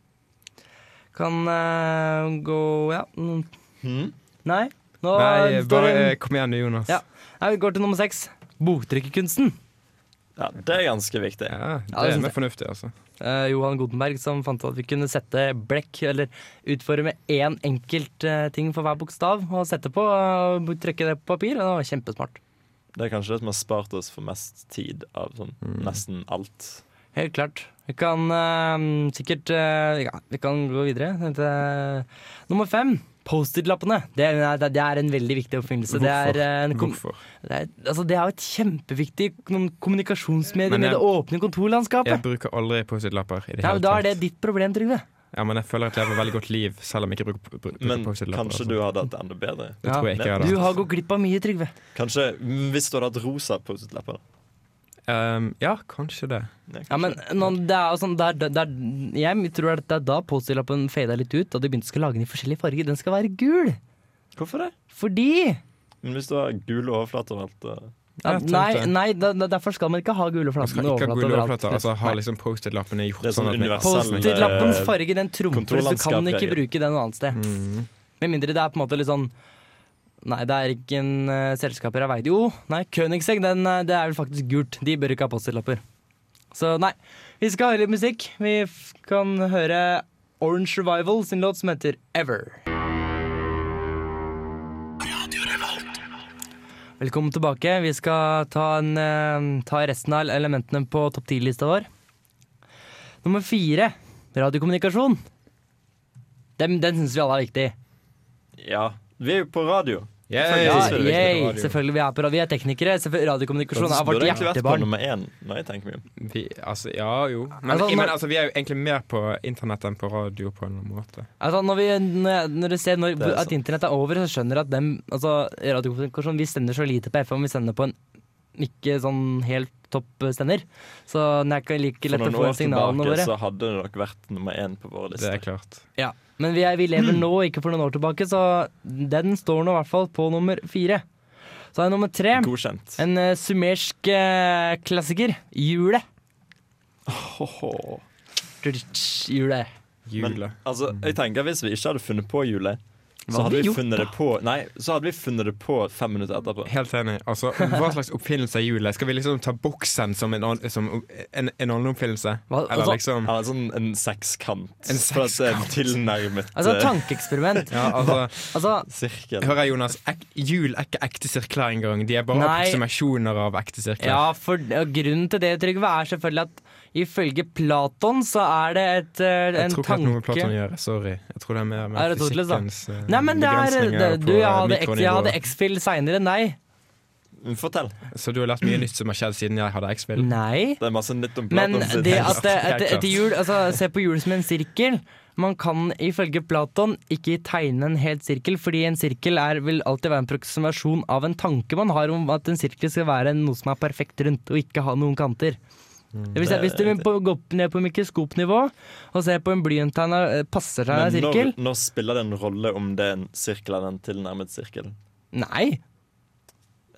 Speaker 3: Kan eh, gå Ja. mm.
Speaker 5: Hmm?
Speaker 3: Nei. Nå
Speaker 4: Nei,
Speaker 3: står
Speaker 4: bare eh,
Speaker 3: det-
Speaker 4: kom igjen, Jonas.
Speaker 3: eh, Ja. Nei, vi går til nummer seks. Boktrykkerkunsten.
Speaker 5: Ja, det er ganske viktig.
Speaker 4: Ja,
Speaker 3: Ja,
Speaker 4: det
Speaker 3: det
Speaker 4: er
Speaker 3: synes
Speaker 4: mer fornuftig, altså.
Speaker 3: Eh, Johan Gutenberg som fant ut at vi kunne sette blekk, eller utforme én enkelt eh, ting for hver bokstav, og sette på eh, og trykke det på papir. og Det var kjempesmart.
Speaker 5: Det er kanskje det som har spart oss for mest tid av sånn
Speaker 4: Hmm.
Speaker 5: nesten alt.
Speaker 3: Helt klart. Vi kan eh, sikkert eh, Ja, vi kan gå videre. Dette- nummer fem. Post-it-lappene. Det, er- det er en veldig viktig oppfinnelse. Det er, eh, en kom,
Speaker 4: Hvorfor?
Speaker 3: det er, altså, det er jo et kjempeviktig kom- kommunikasjonsmedie
Speaker 4: Men
Speaker 3: med
Speaker 4: jeg-
Speaker 3: det åpne
Speaker 4: Jeg
Speaker 3: kontorlandskapet.
Speaker 4: bruker aldri Post-It-lapper. i det
Speaker 3: Ja,
Speaker 4: hele
Speaker 3: men da er
Speaker 4: tatt.
Speaker 3: det ditt problem, Trygve.
Speaker 4: Ja, men jeg føler at jeg lever et veldig godt liv, selv om jeg ikke bruker, bruker
Speaker 5: Men
Speaker 4: Post-It-lapper.
Speaker 5: kanskje
Speaker 4: altså.
Speaker 5: du hadde hatt det enda bedre.
Speaker 4: Det tror jeg ikke jeg hadde.
Speaker 3: Du har gått glipp av mye, Trygve.
Speaker 5: Kanskje mm, hvis du hadde hatt rosa Post-It-lepper. da.
Speaker 4: Ehm, ja, kanskje det.
Speaker 5: Ja,
Speaker 3: Ja, men
Speaker 5: kanskje.
Speaker 3: nå, det er jo sånn det er, det er, Jeg tror at det er da Post-It-lappen fada litt ut, da de begynte å skal lage den i forskjellige farger. Den skal være gul!
Speaker 5: Hvorfor det?
Speaker 3: Fordi
Speaker 5: Men hvis du har gule overflater overalt og- eh,
Speaker 3: ja,
Speaker 4: Jeg tenkte-
Speaker 3: Nei, nei da, da, derfor skal man ikke ha gule
Speaker 4: Man
Speaker 3: flater.
Speaker 4: skal ikke ha gule overflater. Altså, har liksom Post-It-lappene
Speaker 5: Det
Speaker 4: gjort
Speaker 5: er sånn
Speaker 4: sånn at vi
Speaker 5: univers-
Speaker 3: Post-it-lappens
Speaker 5: Selv, eh,
Speaker 3: farge den trumfer, så du kan ikke
Speaker 5: kontorlandskapsgreier.
Speaker 3: bruke den noe annet sted. Med mindre det er på en måte litt sånn Nei, det er ikke en eh, selskaper av vei Jo, nei, Königsegg, den, eh, det er vel faktisk gult. De bør ikke ha Post-it-lapper. Så nei. Vi skal høre litt musikk. Vi f kan høre Orange Revival sin låt som heter Ever. Velkommen tilbake. Vi skal ta, en, eh, ta resten av elementene på topp 10-lista vår. Nummer fire, radiokommunikasjon. Den, den syns vi alle er viktig.
Speaker 5: Ja. Vi er jo på radio.
Speaker 4: Yay!
Speaker 3: Ja,
Speaker 5: Selvfølgelig er det viktig
Speaker 3: yay,
Speaker 5: med radio.
Speaker 3: selvfølgelig. Vi er, på, radio- vi er teknikere. Selvfølgelig, radiokommunikasjon
Speaker 5: Faktisk
Speaker 3: er vårt
Speaker 5: burde egentlig vært på
Speaker 3: hjertebarn.
Speaker 5: nummer én. Når jeg tenker meg om.
Speaker 4: vi, altså, Ja, jo. Men,
Speaker 3: Altså,
Speaker 4: men
Speaker 3: når-
Speaker 4: altså, vi er jo egentlig mer på internett enn på radio på en eller annen måte.
Speaker 3: Altså, når, vi, når, jeg- når du ser når,
Speaker 5: Det er
Speaker 3: at
Speaker 5: sant.
Speaker 3: internett er over, så skjønner du at dem, altså, radiokommunikasjon Vi sender så lite på FM, vi sender på en ikke sånn helt topp sender. Så det er ikke like
Speaker 5: For
Speaker 3: lett å
Speaker 5: noen
Speaker 3: få
Speaker 5: år
Speaker 3: signalene
Speaker 5: tilbake altså.
Speaker 3: våre.
Speaker 5: så hadde det nok vært nummer én på våre
Speaker 4: Det er
Speaker 5: lister.
Speaker 4: klart.
Speaker 3: Ja, men vi, er, vi lever nå, ikke for noen år tilbake, så den står nå i hvert fall på nummer fire. Så er nummer tre
Speaker 5: Godkjent.
Speaker 3: en eh, sumersk eh, klassiker. Hjulet.
Speaker 5: Hoho.
Speaker 3: Dutsch, Hjulet.
Speaker 4: Jule.
Speaker 5: Altså, jeg tenker Hvis vi ikke hadde funnet på hjulet,
Speaker 3: Mm. Hva
Speaker 5: så
Speaker 3: hadde
Speaker 5: hadde
Speaker 3: vi
Speaker 5: vi
Speaker 3: gjort
Speaker 5: funnet
Speaker 3: da?
Speaker 5: det på Nei, så hadde vi funnet det på fem minutter etterpå.
Speaker 4: Helt enig. Altså, Hva slags oppfinnelse er hjulet? Skal vi liksom ta boksen som en, annen- som en, en annen oppfinnelse?
Speaker 3: Hva-
Speaker 4: Eller
Speaker 3: altså-
Speaker 4: liksom
Speaker 5: Eller sånn en sekskant.
Speaker 4: En
Speaker 5: For at det er en tilnærmet
Speaker 3: Altså
Speaker 5: eh,
Speaker 3: et tankeeksperiment.
Speaker 4: ja, altså,
Speaker 3: Altså,
Speaker 5: sirkel.
Speaker 4: Hører jeg, Jonas, ek, jul er ikke ekte sirkler engang. De er bare
Speaker 3: Nei.
Speaker 4: approksimasjoner av ekte sirkler.
Speaker 3: ja, for og grunnen til det, Trygve, er selvfølgelig at ifølge Platon så er det et, eh,
Speaker 4: Jeg
Speaker 3: en
Speaker 4: tror ikke det har noe med
Speaker 3: tanke
Speaker 4: Platon å gjøre. Sorry. Jeg tror det er mer
Speaker 3: Er
Speaker 4: med
Speaker 3: det Aristoteles, da?
Speaker 4: fysikkens eh,
Speaker 3: Nei, men det er
Speaker 4: begrensninger
Speaker 3: det, Du, jeg
Speaker 4: på
Speaker 3: hadde, X- jeg
Speaker 4: mikronivå.
Speaker 3: hadde X-Fill seinere. Nei.
Speaker 5: Fortell.
Speaker 4: Så du har lært mye nytt som har skjedd siden jeg hadde X-Fill?
Speaker 3: Nei.
Speaker 5: Det er masse nytt om
Speaker 3: Men
Speaker 5: Platon sin
Speaker 3: det
Speaker 5: tekst.
Speaker 3: at det, et,
Speaker 4: Helt klart.
Speaker 3: et hjul altså, Se på hjulet som en sirkel. Man kan ifølge Platon ikke tegne en helt sirkel, fordi en sirkel er, vil alltid være en proksimasjon av en tanke man har om at en sirkel skal være noe som er perfekt rundt, og ikke ha noen kanter. Det vil si at Hvis du vil på, gå opp- ned på mikroskopnivå og se på en blyanttegna passer seg en
Speaker 5: Men når,
Speaker 3: sirkel
Speaker 5: når spiller det en rolle om det er en sirkel eller en tilnærmet sirkel?
Speaker 3: Nei!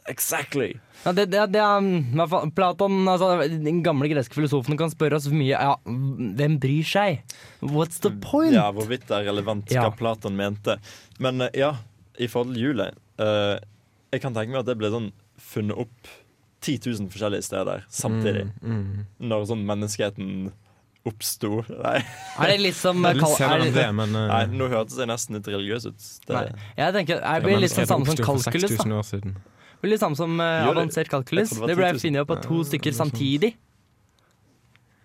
Speaker 5: Exactly!
Speaker 3: Ja, det, det, det er, i hvert fall, Platon, altså, den gamle greske filosofen, kan spørre oss mye ja, Hvem bryr seg? What's the point?
Speaker 5: Ja, hvorvidt det er relevant
Speaker 3: Ja.
Speaker 5: hva Platon mente. Men eh, ja, i forhold til julet eh, Jeg kan tenke meg at det ble sånn funnet opp 10 000 forskjellige steder samtidig.
Speaker 3: Mm,
Speaker 5: Når sånn menneskeheten oppsto. Nei,
Speaker 3: Er det litt som
Speaker 4: Det er
Speaker 3: kal-
Speaker 4: Litt senere
Speaker 3: er
Speaker 4: enn
Speaker 3: det,
Speaker 4: det, men eh,
Speaker 5: nei, nå hørtes jeg nesten litt religiøs ut. Det,
Speaker 3: Nei. Jeg tenker, jeg blir
Speaker 4: men
Speaker 3: litt sånn samme som
Speaker 4: oppsto for
Speaker 3: kalkulus. da
Speaker 4: 6000 år siden.
Speaker 3: Det blir litt samme som eh,
Speaker 5: Jo, det-
Speaker 3: avansert kalkulus.
Speaker 5: jeg trodde
Speaker 3: Det
Speaker 5: det
Speaker 3: ble
Speaker 5: var 10 000.
Speaker 3: funnet opp av to stykker samtidig.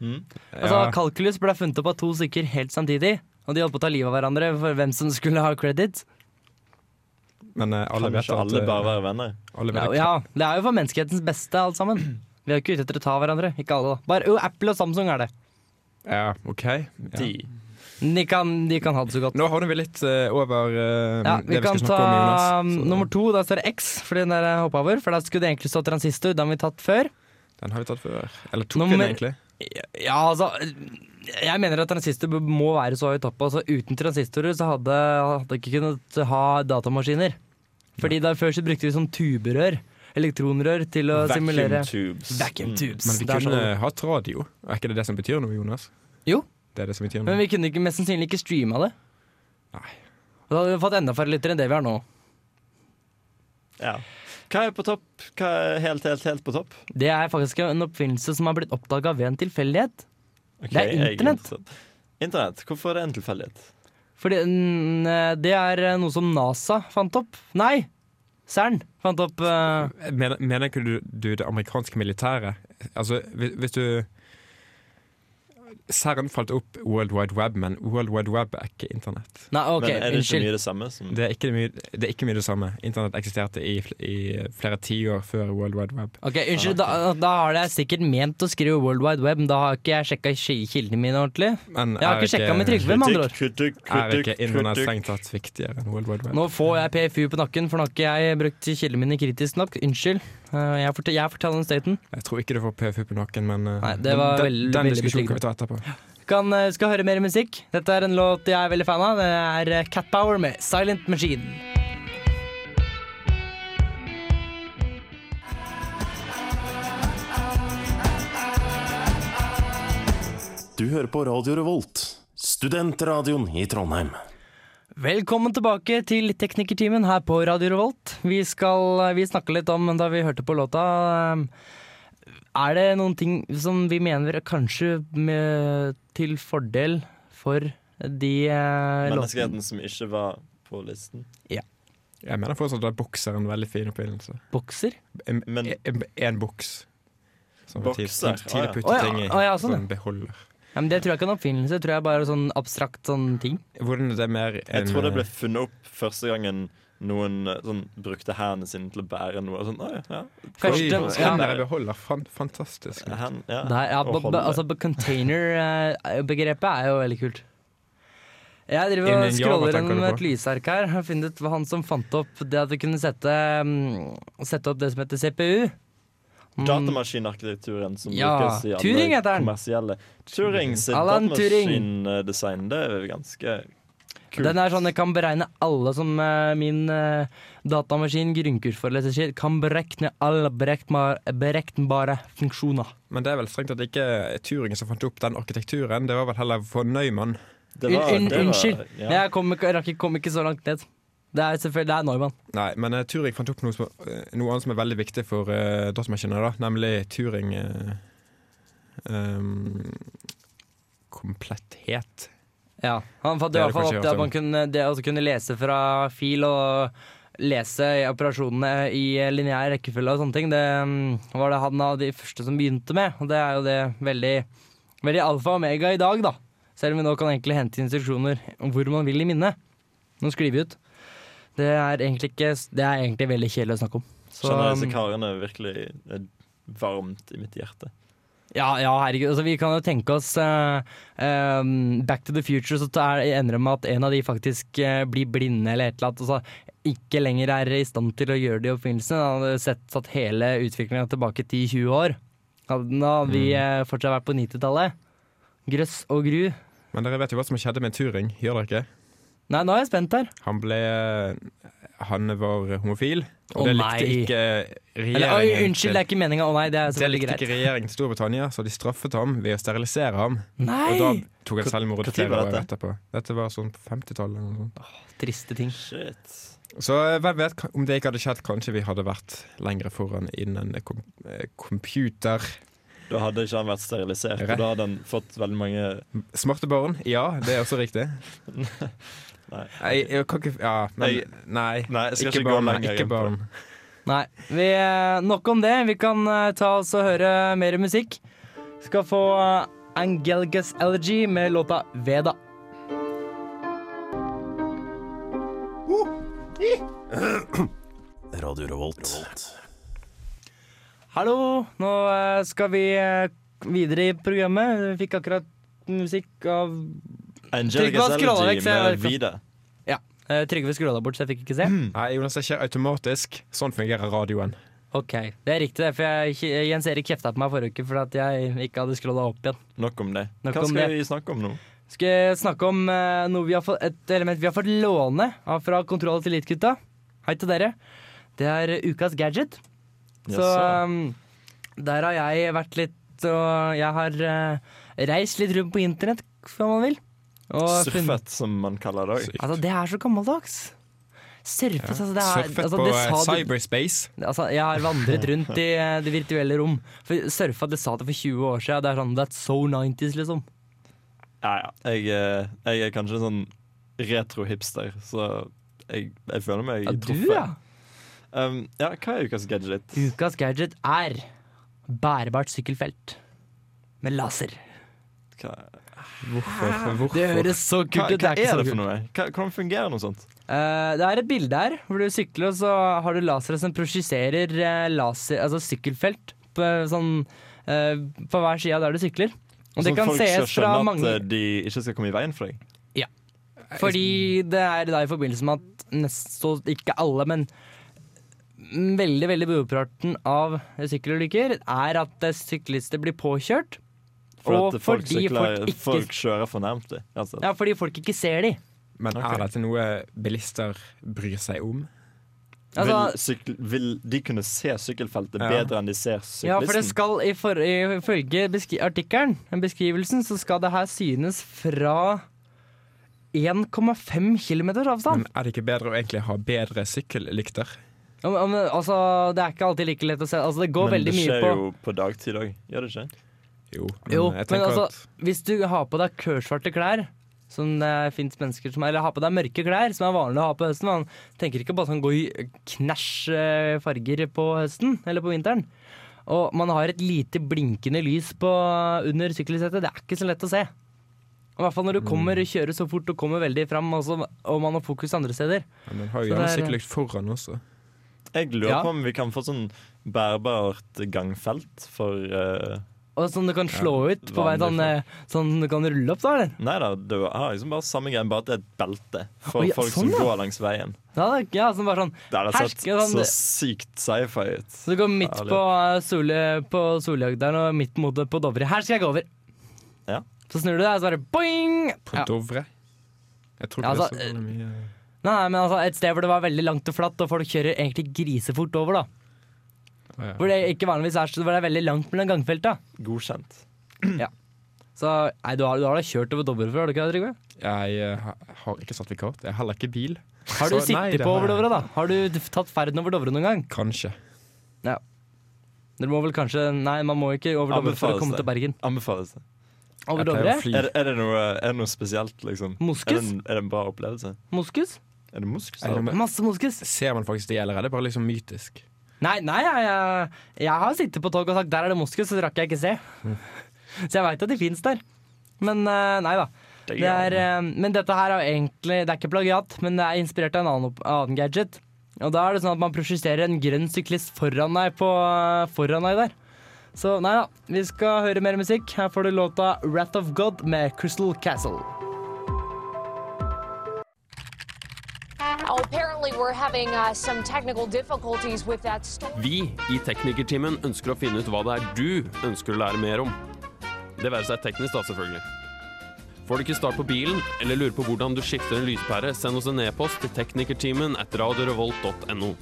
Speaker 5: Mm.
Speaker 3: Altså
Speaker 4: Ja.
Speaker 3: Kalkulus ble funnet opp av to stykker helt samtidig. Og de holdt på å ta livet av hverandre for hvem som skulle ha credit.
Speaker 4: Men eh, alle
Speaker 5: Kan
Speaker 4: vet
Speaker 5: ikke
Speaker 4: at
Speaker 5: alle
Speaker 4: eh,
Speaker 5: bare være venner?
Speaker 4: alle vet
Speaker 3: Ja,
Speaker 4: at-
Speaker 3: ja, det er jo for menneskehetens beste, alt sammen. Vi er jo ikke ute etter å ta hverandre. Ikke alle, da. Bare, jo, Apple og Samsung er det.
Speaker 4: ja, OK. Ja.
Speaker 5: De.
Speaker 3: Men De kan, de kan ha det så godt.
Speaker 4: Nå havner vi litt eh, over eh,
Speaker 3: Ja,
Speaker 4: det
Speaker 3: vi
Speaker 4: vi
Speaker 3: kan
Speaker 4: skal snakke om,
Speaker 3: ta
Speaker 4: Jonas.
Speaker 3: um,
Speaker 4: så-
Speaker 3: nummer to. Da står det X, for den der hoppa over. For da skulle det egentlig stå transistor. Den har vi tatt før.
Speaker 4: Den har vi tatt før. Eller tok vi
Speaker 3: Nummer-
Speaker 4: den egentlig?
Speaker 3: Ja, altså Jeg mener at transistor b- må være så høyt oppe. Altså, uten transistorer så hadde hadde ikke kunnet ha datamaskiner. Fordi da Før så brukte vi sånn tuberør. Elektronrør til å simulere
Speaker 5: Vacuum tubes. Mm.
Speaker 3: Vacuum tubes.
Speaker 4: Men vi
Speaker 3: Det er
Speaker 4: kunne
Speaker 3: sånn-
Speaker 4: hatt radio. Er ikke det det som betyr noe, Jonas?
Speaker 3: Jo.
Speaker 4: Det er det som betyr noe.
Speaker 3: Men vi kunne ikke, mest sannsynlig ikke streama det.
Speaker 4: Nei.
Speaker 3: Og da hadde vi fått enda færre lyttere enn det vi har nå.
Speaker 5: Ja. Hva er på topp? Hva er helt, helt, helt på topp?
Speaker 3: Det er faktisk en oppfinnelse som har blitt oppdaga ved en tilfeldighet.
Speaker 5: Ok,
Speaker 3: Det er
Speaker 5: jeg
Speaker 3: internett.
Speaker 5: interessert. Internett. Hvorfor er det en tilfeldighet?
Speaker 3: Fordi mm, det er eh, noe som NASA fant opp. Nei, CERN fant opp. eh,
Speaker 4: Mener, mener ikke du, du det amerikanske militæret? Altså, hvis, hvis du CERN falt opp World Wide Web, men World Wide Web er ikke internett.
Speaker 3: Nei, OK,
Speaker 5: Men er det ikke
Speaker 3: unnskyld.
Speaker 5: mye det samme? Som,
Speaker 4: Det er ikke mye det, er ikke mye det samme. Internett eksisterte i, fl- i eh, flere tiår før World Wide Web.
Speaker 3: Ok, unnskyld, da, da har jeg sikkert ment å skrive World Wide Web, men da har ikke jeg sjekka ki- kildene mine ordentlig.
Speaker 4: Men
Speaker 3: Jeg har ikke sjekka med Trygve, med andre ord.
Speaker 5: kritikk,
Speaker 4: er ikke
Speaker 5: kritikk,
Speaker 4: internett
Speaker 5: kritikk.
Speaker 4: strengt tatt viktigere enn World Wide Web?
Speaker 3: Nå får jeg PFU på nakken, for nå har ikke jeg brukt kildene mine kritisk nok. Unnskyld. Eh, Jeg, fortel, jeg forteller den staten.
Speaker 4: Jeg tror ikke du får PFU på nakken, men eh,
Speaker 3: Nei, det var
Speaker 4: den,
Speaker 3: veldig-
Speaker 4: den
Speaker 3: veldig
Speaker 4: diskusjonen kan vi ta etterpå.
Speaker 3: Kan, eh, skal høre mer musikk. Dette er en låt jeg er veldig fan av. Det er eh, Cat Power med 'Silent Machine'.
Speaker 6: Du hører på Radio Revolt, studentradioen i Trondheim.
Speaker 3: Velkommen tilbake til teknikertimen her på Radio Revolt. Vi, skal, eh, vi snakka litt om da vi hørte på låta eh, Er det noen ting som vi mener er kanskje med, til fordel for de eh, låtene?
Speaker 5: Menneskeheten som ikke var på listen.
Speaker 4: Jeg mener fortsatt at boks er en veldig fin oppfinnelse.
Speaker 3: Bokser?
Speaker 4: En,
Speaker 5: Men-
Speaker 4: en, en boks. Som
Speaker 5: Bokser,
Speaker 4: tid- som
Speaker 5: ah, ja.
Speaker 4: Tidlig putte
Speaker 3: Å, ja,
Speaker 4: ting i.
Speaker 3: å, ja, sånn,
Speaker 4: som
Speaker 3: ja.
Speaker 4: beholder.
Speaker 3: Ja, men det tror jeg ikke er en oppfinnelse, det tror jeg bare er sånn abstrakt sånn ting.
Speaker 4: Hvordan er det mer en, eh,
Speaker 5: Jeg tror det ble funnet opp første gangen noen eh, sånn, brukte hendene sine til å bære noe. Sånn, «Oi, ja,
Speaker 3: Første,
Speaker 4: Oi,
Speaker 3: ja,
Speaker 4: Hender er beholder. Fan, fantastisk.
Speaker 5: hen, ja.
Speaker 3: Der, ja,
Speaker 5: å
Speaker 3: b- b-
Speaker 5: holde.
Speaker 3: altså Container-begrepet er jo veldig kult. Jeg driver og
Speaker 4: Innen Java
Speaker 3: scroller
Speaker 4: tenker du
Speaker 3: gjennom
Speaker 4: på?
Speaker 3: et lysark her. Har funnet ut hva han som fant opp det at vi kunne sette, mm, sette opp det som heter CPU. Mm,
Speaker 5: Datamaskinarkitekturen som
Speaker 3: Ja,
Speaker 5: brukes i alle
Speaker 3: Turing heter han.
Speaker 5: kommersielle Turing sitt
Speaker 3: Alan Turing.
Speaker 5: datamaskindesign, det er jo ganske kult.
Speaker 3: Den er sånn jeg kan beregne alle som eh, min eh, datamaskin grunnkursforeleser sier. Kan berekne alle bereknbar- bereknbare funksjoner.
Speaker 4: Men det er vel strengt at det ikke er Turing som fant opp den arkitekturen. Det var vel heller von Neumann.
Speaker 5: Det var-
Speaker 3: Unn-
Speaker 5: det var-
Speaker 3: Unnskyld,
Speaker 5: ja.
Speaker 3: jeg kom ikke, rakk ikke, kom ikke så langt ned. Det er selvfølgelig det er Neumann.
Speaker 4: Nei, men eh, Turing fant opp noe, som, eh, noe annet som er veldig viktig for uh, datamaskiner, da. Nemlig Turing eh, ehm, Kompletthet.
Speaker 3: Ja, han fant i
Speaker 4: Det er
Speaker 3: hvert
Speaker 4: det
Speaker 3: fall
Speaker 4: kanskje
Speaker 3: opp det at
Speaker 4: også.
Speaker 3: man kunne, det å kunne lese fra fil og lese i operasjonene i lineær rekkefølge og sånne ting. Det mm, var det han av de første som begynte med, og det er jo det veldig, veldig alfa og omega i dag, da. Selv om vi nå kan egentlig hente instruksjoner hvor man vil i minnet. Nå skriver vi ut. Det er egentlig, ikke, det er egentlig veldig kjedelig å snakke om. Så, um, mm,
Speaker 5: Skjønner disse karene virkelig eh, varmt i mitt hjerte.
Speaker 3: Ja, ja herregud. Altså, vi kan jo tenke oss eh, eh, Back to the future, så tar- ender det med at en av de faktisk eh, blir blinde eller et eller annet. og så ikke lenger er i stand til å gjøre de oppfinnelsene. Da hadde sett satt hele utviklingen tilbake 10-20 år. Hadde den- Da hadde vi eh, fortsatt vært på 90-tallet. Grøss og gru.
Speaker 4: Men dere vet jo hva som skjedde med Turing, gjør dere ikke?
Speaker 3: Nei, nå er jeg spent her.
Speaker 4: Han ble eh, Han var homofil, og
Speaker 3: Å
Speaker 4: det
Speaker 3: nei.
Speaker 4: likte ikke
Speaker 3: Eller, oi,
Speaker 4: regjeringen
Speaker 3: unnskyld, det er ikke meninga. Å nei, det er
Speaker 4: til det
Speaker 3: selvfølgelig
Speaker 4: likte ikke
Speaker 3: greit.
Speaker 4: regjeringen til Storbritannia, så de straffet ham ved å sterilisere ham. Og da
Speaker 3: Nei!
Speaker 4: tok han selvmord
Speaker 5: Hvor- hvor tid
Speaker 4: flere
Speaker 5: var
Speaker 4: år
Speaker 5: dette?
Speaker 4: etterpå. Dette var sånn på 50-tallet. eller noe sånt.
Speaker 3: Triste ting.
Speaker 5: Shit.
Speaker 4: Så eh, hvem vet ka- om det ikke hadde skjedd, kanskje vi hadde vært lengre foran innen kom eh, computer.
Speaker 5: Da hadde ikke han vært sterilisert, og da hadde han fått veldig mange
Speaker 4: Smarte barn, ja, det er også riktig.
Speaker 5: Nei.
Speaker 4: Jeg, jeg kan ikke Ja,
Speaker 5: Jeg-
Speaker 4: men nei.
Speaker 5: Nei, jeg skal
Speaker 4: Ikke
Speaker 5: ikke gå
Speaker 4: barn.
Speaker 5: lenger
Speaker 4: Ikke
Speaker 5: inn på
Speaker 4: barn.
Speaker 5: det.
Speaker 3: Nei. Vi, eh, nok om det. Vi kan eh, ta oss og høre mer musikk. Skal få eh, Angelgus Elegy med låta Veda.
Speaker 6: Radio Revolt.
Speaker 3: Hallo, nå eh, skal vi eh, videre i programmet. Vi fikk akkurat musikk av
Speaker 5: Angelica
Speaker 3: Trygve har scrollet
Speaker 5: Zelgi
Speaker 3: vekk, så jeg
Speaker 5: med
Speaker 3: vet ikke.
Speaker 5: Vida.
Speaker 3: eh, Trygve skrolla bort, så jeg fikk ikke se.
Speaker 4: Nei, Jonas, det skjer automatisk. Sånn fungerer radioen.
Speaker 3: Ok, Det er riktig, det, for jeg, Jens Erik kjefta på meg forrige uke for at jeg ikke hadde skrolla opp igjen.
Speaker 5: Nok om det.
Speaker 3: Nok
Speaker 5: Hva
Speaker 3: om
Speaker 5: skal
Speaker 3: det.
Speaker 5: vi snakke om nå?
Speaker 3: Skal jeg snakke om eh, noe vi har fått, et element vi har fått låne av fra Kontroll og Tillit-gutta. Hei til dere. Det er ukas gadget. Så
Speaker 5: Jaså.
Speaker 3: um, der har jeg vært litt Og jeg har eh, reist litt rundt på internett, om man vil. Og funnet-
Speaker 5: Surfet, som man kaller det òg.
Speaker 3: Altså, det er så gammeldags. Surfet, altså. Det er,
Speaker 4: Surfet
Speaker 3: altså,
Speaker 4: på
Speaker 3: det
Speaker 4: eh,
Speaker 3: sa du-
Speaker 4: cyberspace.
Speaker 3: Altså, jeg har vandret rundt i eh, det virtuelle rom. For surfa, det sa det for 20 år siden. Det er sånn That's so 90s, liksom.
Speaker 5: Ja, ja. Jeg, eh, jeg er kanskje en sånn retro-hipster, så jeg, jeg føler meg
Speaker 3: Ja, du,
Speaker 5: truffet.
Speaker 3: ja.
Speaker 5: Um, ja, hva er ukas gadget?
Speaker 3: Ukas gadget er bærebart sykkelfelt med laser.
Speaker 5: Hva,
Speaker 4: Hvorfor? Hvorfor?
Speaker 3: Det høres så kult
Speaker 5: hva,
Speaker 3: ut.
Speaker 5: hva
Speaker 3: ikke
Speaker 5: er
Speaker 3: så
Speaker 5: det for
Speaker 3: kult.
Speaker 5: noe? Hva, hvordan fungerer noe sånt?
Speaker 3: Eh, det er et bilde her hvor du sykler, og så har du lasere som prosjiserer eh, laser, altså sykkelfelt på, sånn, eh, på hver side der du sykler. Og det
Speaker 5: Sånn
Speaker 3: kan
Speaker 5: folk skal
Speaker 3: sees fra
Speaker 5: skjønne
Speaker 3: mange
Speaker 5: at eh, de ikke skal komme i veien for deg?
Speaker 3: eh, Fordi det er da i forbindelse med at nesten ikke alle, men veldig, veldig brorparten av sykkelulykker er at eh, syklister blir påkjørt.
Speaker 5: For
Speaker 3: og
Speaker 5: at folk,
Speaker 3: fordi
Speaker 5: sykler,
Speaker 3: folk
Speaker 5: folk,
Speaker 3: ikke
Speaker 5: kjører for nærmt deg. Altså.
Speaker 3: Ja, fordi folk ikke ser de.
Speaker 4: Men
Speaker 5: Ok.
Speaker 4: er dette noe bilister bryr seg om?
Speaker 5: vil,
Speaker 3: Altså,
Speaker 5: sykl, vil de kunne se sykkelfeltet
Speaker 4: Ja.
Speaker 5: bedre enn de ser
Speaker 3: ja, for det
Speaker 5: syklisten?
Speaker 3: skal i for- ifølge beskri artikkelen, beskrivelsen, så skal det her synes fra 1,5 km avstand.
Speaker 4: Men er det ikke bedre å egentlig ha bedre sykkellykter?
Speaker 3: Ja, men- men, altså, det er ikke alltid like lett å se. Altså, det går
Speaker 5: Men
Speaker 3: veldig
Speaker 5: det
Speaker 3: mye
Speaker 5: skjer
Speaker 3: på
Speaker 5: jo på dagtid òg, gjør det ikke?
Speaker 4: Jo,
Speaker 3: Jo,
Speaker 4: jeg
Speaker 3: men
Speaker 4: tenker
Speaker 3: altså,
Speaker 4: at
Speaker 3: hvis du har på deg kørsvarte klær som det finnes mennesker som Eller har på deg mørke klær, som er vanlig å ha på høsten. Man tenker ikke bare sånn gå i knæsj eh, farger på høsten eller på vinteren. Og man har et lite blinkende lys på, under sykkelsetet. Det er ikke så lett å se. I hvert fall når du
Speaker 4: Mm.
Speaker 3: kommer og kjører så fort og kommer veldig fram, og, så, og man har fokus andre steder.
Speaker 4: Man har
Speaker 3: så
Speaker 4: jo gjerne
Speaker 3: det er-
Speaker 4: sykkellykt foran også.
Speaker 5: Jeg lurer
Speaker 3: Ja.
Speaker 5: på om vi kan få sånn bærbart gangfelt for eh,
Speaker 3: Og sånn du kan slå ut på
Speaker 5: vanlig
Speaker 3: vei sånn, eh, sånn du kan rulle opp, da, eller?
Speaker 5: Nei da, det har liksom bare samme greien, bare at det er et belte for
Speaker 3: Oi, ja,
Speaker 5: folk som
Speaker 3: sånn, ja.
Speaker 5: går langs veien.
Speaker 3: Ja, det- ja, sånn bare sånn
Speaker 5: Det hadde sett
Speaker 3: Herske, sånn-
Speaker 5: så sykt sci-fi ut.
Speaker 3: Så du går midt
Speaker 5: Herlig.
Speaker 3: på, eh, sole, på Soljag der og midt mot det på Dovre. Her skal jeg gå over!
Speaker 5: Ja.
Speaker 3: Så snur du deg, og så bare boing!
Speaker 4: På
Speaker 3: Ja.
Speaker 4: Dovre. Jeg tror
Speaker 3: Ja,
Speaker 4: ikke
Speaker 3: altså,
Speaker 4: det er så veldig mye
Speaker 3: Nei, nei, men altså, et sted hvor det var veldig langt og flatt, og folk kjører egentlig grisefort over, da.
Speaker 4: Ja, ja.
Speaker 3: Hvor det ikke vanligvis er så hvor det er veldig langt mellom gangfelta.
Speaker 5: Godkjent.
Speaker 3: Så nei, du har, du har da kjørt over Dovre før, har du ikke det, Trygve?
Speaker 4: Jeg eh, ha- har ikke sertifikat. Jeg har heller ikke bil.
Speaker 3: Har du
Speaker 4: Så-
Speaker 3: sittet
Speaker 4: nei, det
Speaker 3: på
Speaker 4: har
Speaker 3: over
Speaker 4: jeg.
Speaker 3: Dovre, da? Har du tatt ferden over Dovre noen gang?
Speaker 4: Kanskje.
Speaker 3: Dere må vel kanskje Nei, man må ikke over Dovre for å
Speaker 5: Anbefales
Speaker 3: komme
Speaker 5: det.
Speaker 3: til Bergen.
Speaker 5: Anbefales det.
Speaker 3: Over
Speaker 4: Jeg pleier
Speaker 3: Dovre?
Speaker 4: å fly.
Speaker 5: Er, det- er, det noe, er det noe spesielt, liksom? Er det,
Speaker 3: Moskus?
Speaker 5: en, er det en bra opplevelse?
Speaker 3: Moskus?
Speaker 5: Er det moskus?
Speaker 4: Er det
Speaker 5: eller?
Speaker 4: Men-
Speaker 3: Masse moskus.
Speaker 4: Ser man faktisk det, eller er det bare liksom mytisk?
Speaker 3: Nei, nei jeg, jeg, jeg har sittet på tog og sagt 'der er det moskus', så det rakk jeg ikke se. Så jeg veit at de fins der. Men eh, nei da.
Speaker 5: Det
Speaker 3: Det
Speaker 5: er-
Speaker 3: er, eh, men dette her er jo egentlig Det er ikke plagiat, men det er inspirert av en annen, opp- annen gadget. Og da er det sånn at man prosjekterer en grønn syklist foran deg, på, foran deg der. Så nei da, vi skal høre mer musikk. Her får du låta 'Wrath of God' med Crystal Castle.
Speaker 7: Apparently, we're having uh, some technical difficulties with that storm.
Speaker 2: Vi i Teknikertimen ønsker å finne ut hva det er du ønsker å lære mer om. Det være seg teknisk, da, selvfølgelig. Får du ikke start på bilen, eller lurer på hvordan du skifter en lyspære, send oss en e-post til teknikertimen at radiorevolt.no.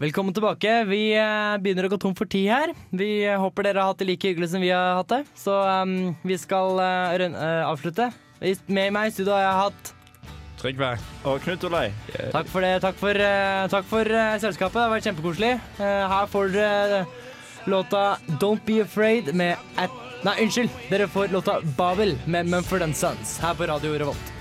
Speaker 3: Velkommen tilbake. Vi eh, begynner å gå tom for tid her. Vi eh, håper dere har hatt det like hyggelig som vi har hatt det. Så em, vi skal eh, røn- eh, avslutte. I- Med meg i studio har jeg hatt
Speaker 4: Trygve.
Speaker 5: Og Knut Olai.
Speaker 3: Takk for det. Takk for, eh, takk for eh, selskapet. Det har vært kjempekoselig. Eh, her får dere låta 'Don't Be Afraid' med At... Nei, unnskyld. Dere får låta 'Babel' med Mumford Sons her på Radio Revolt.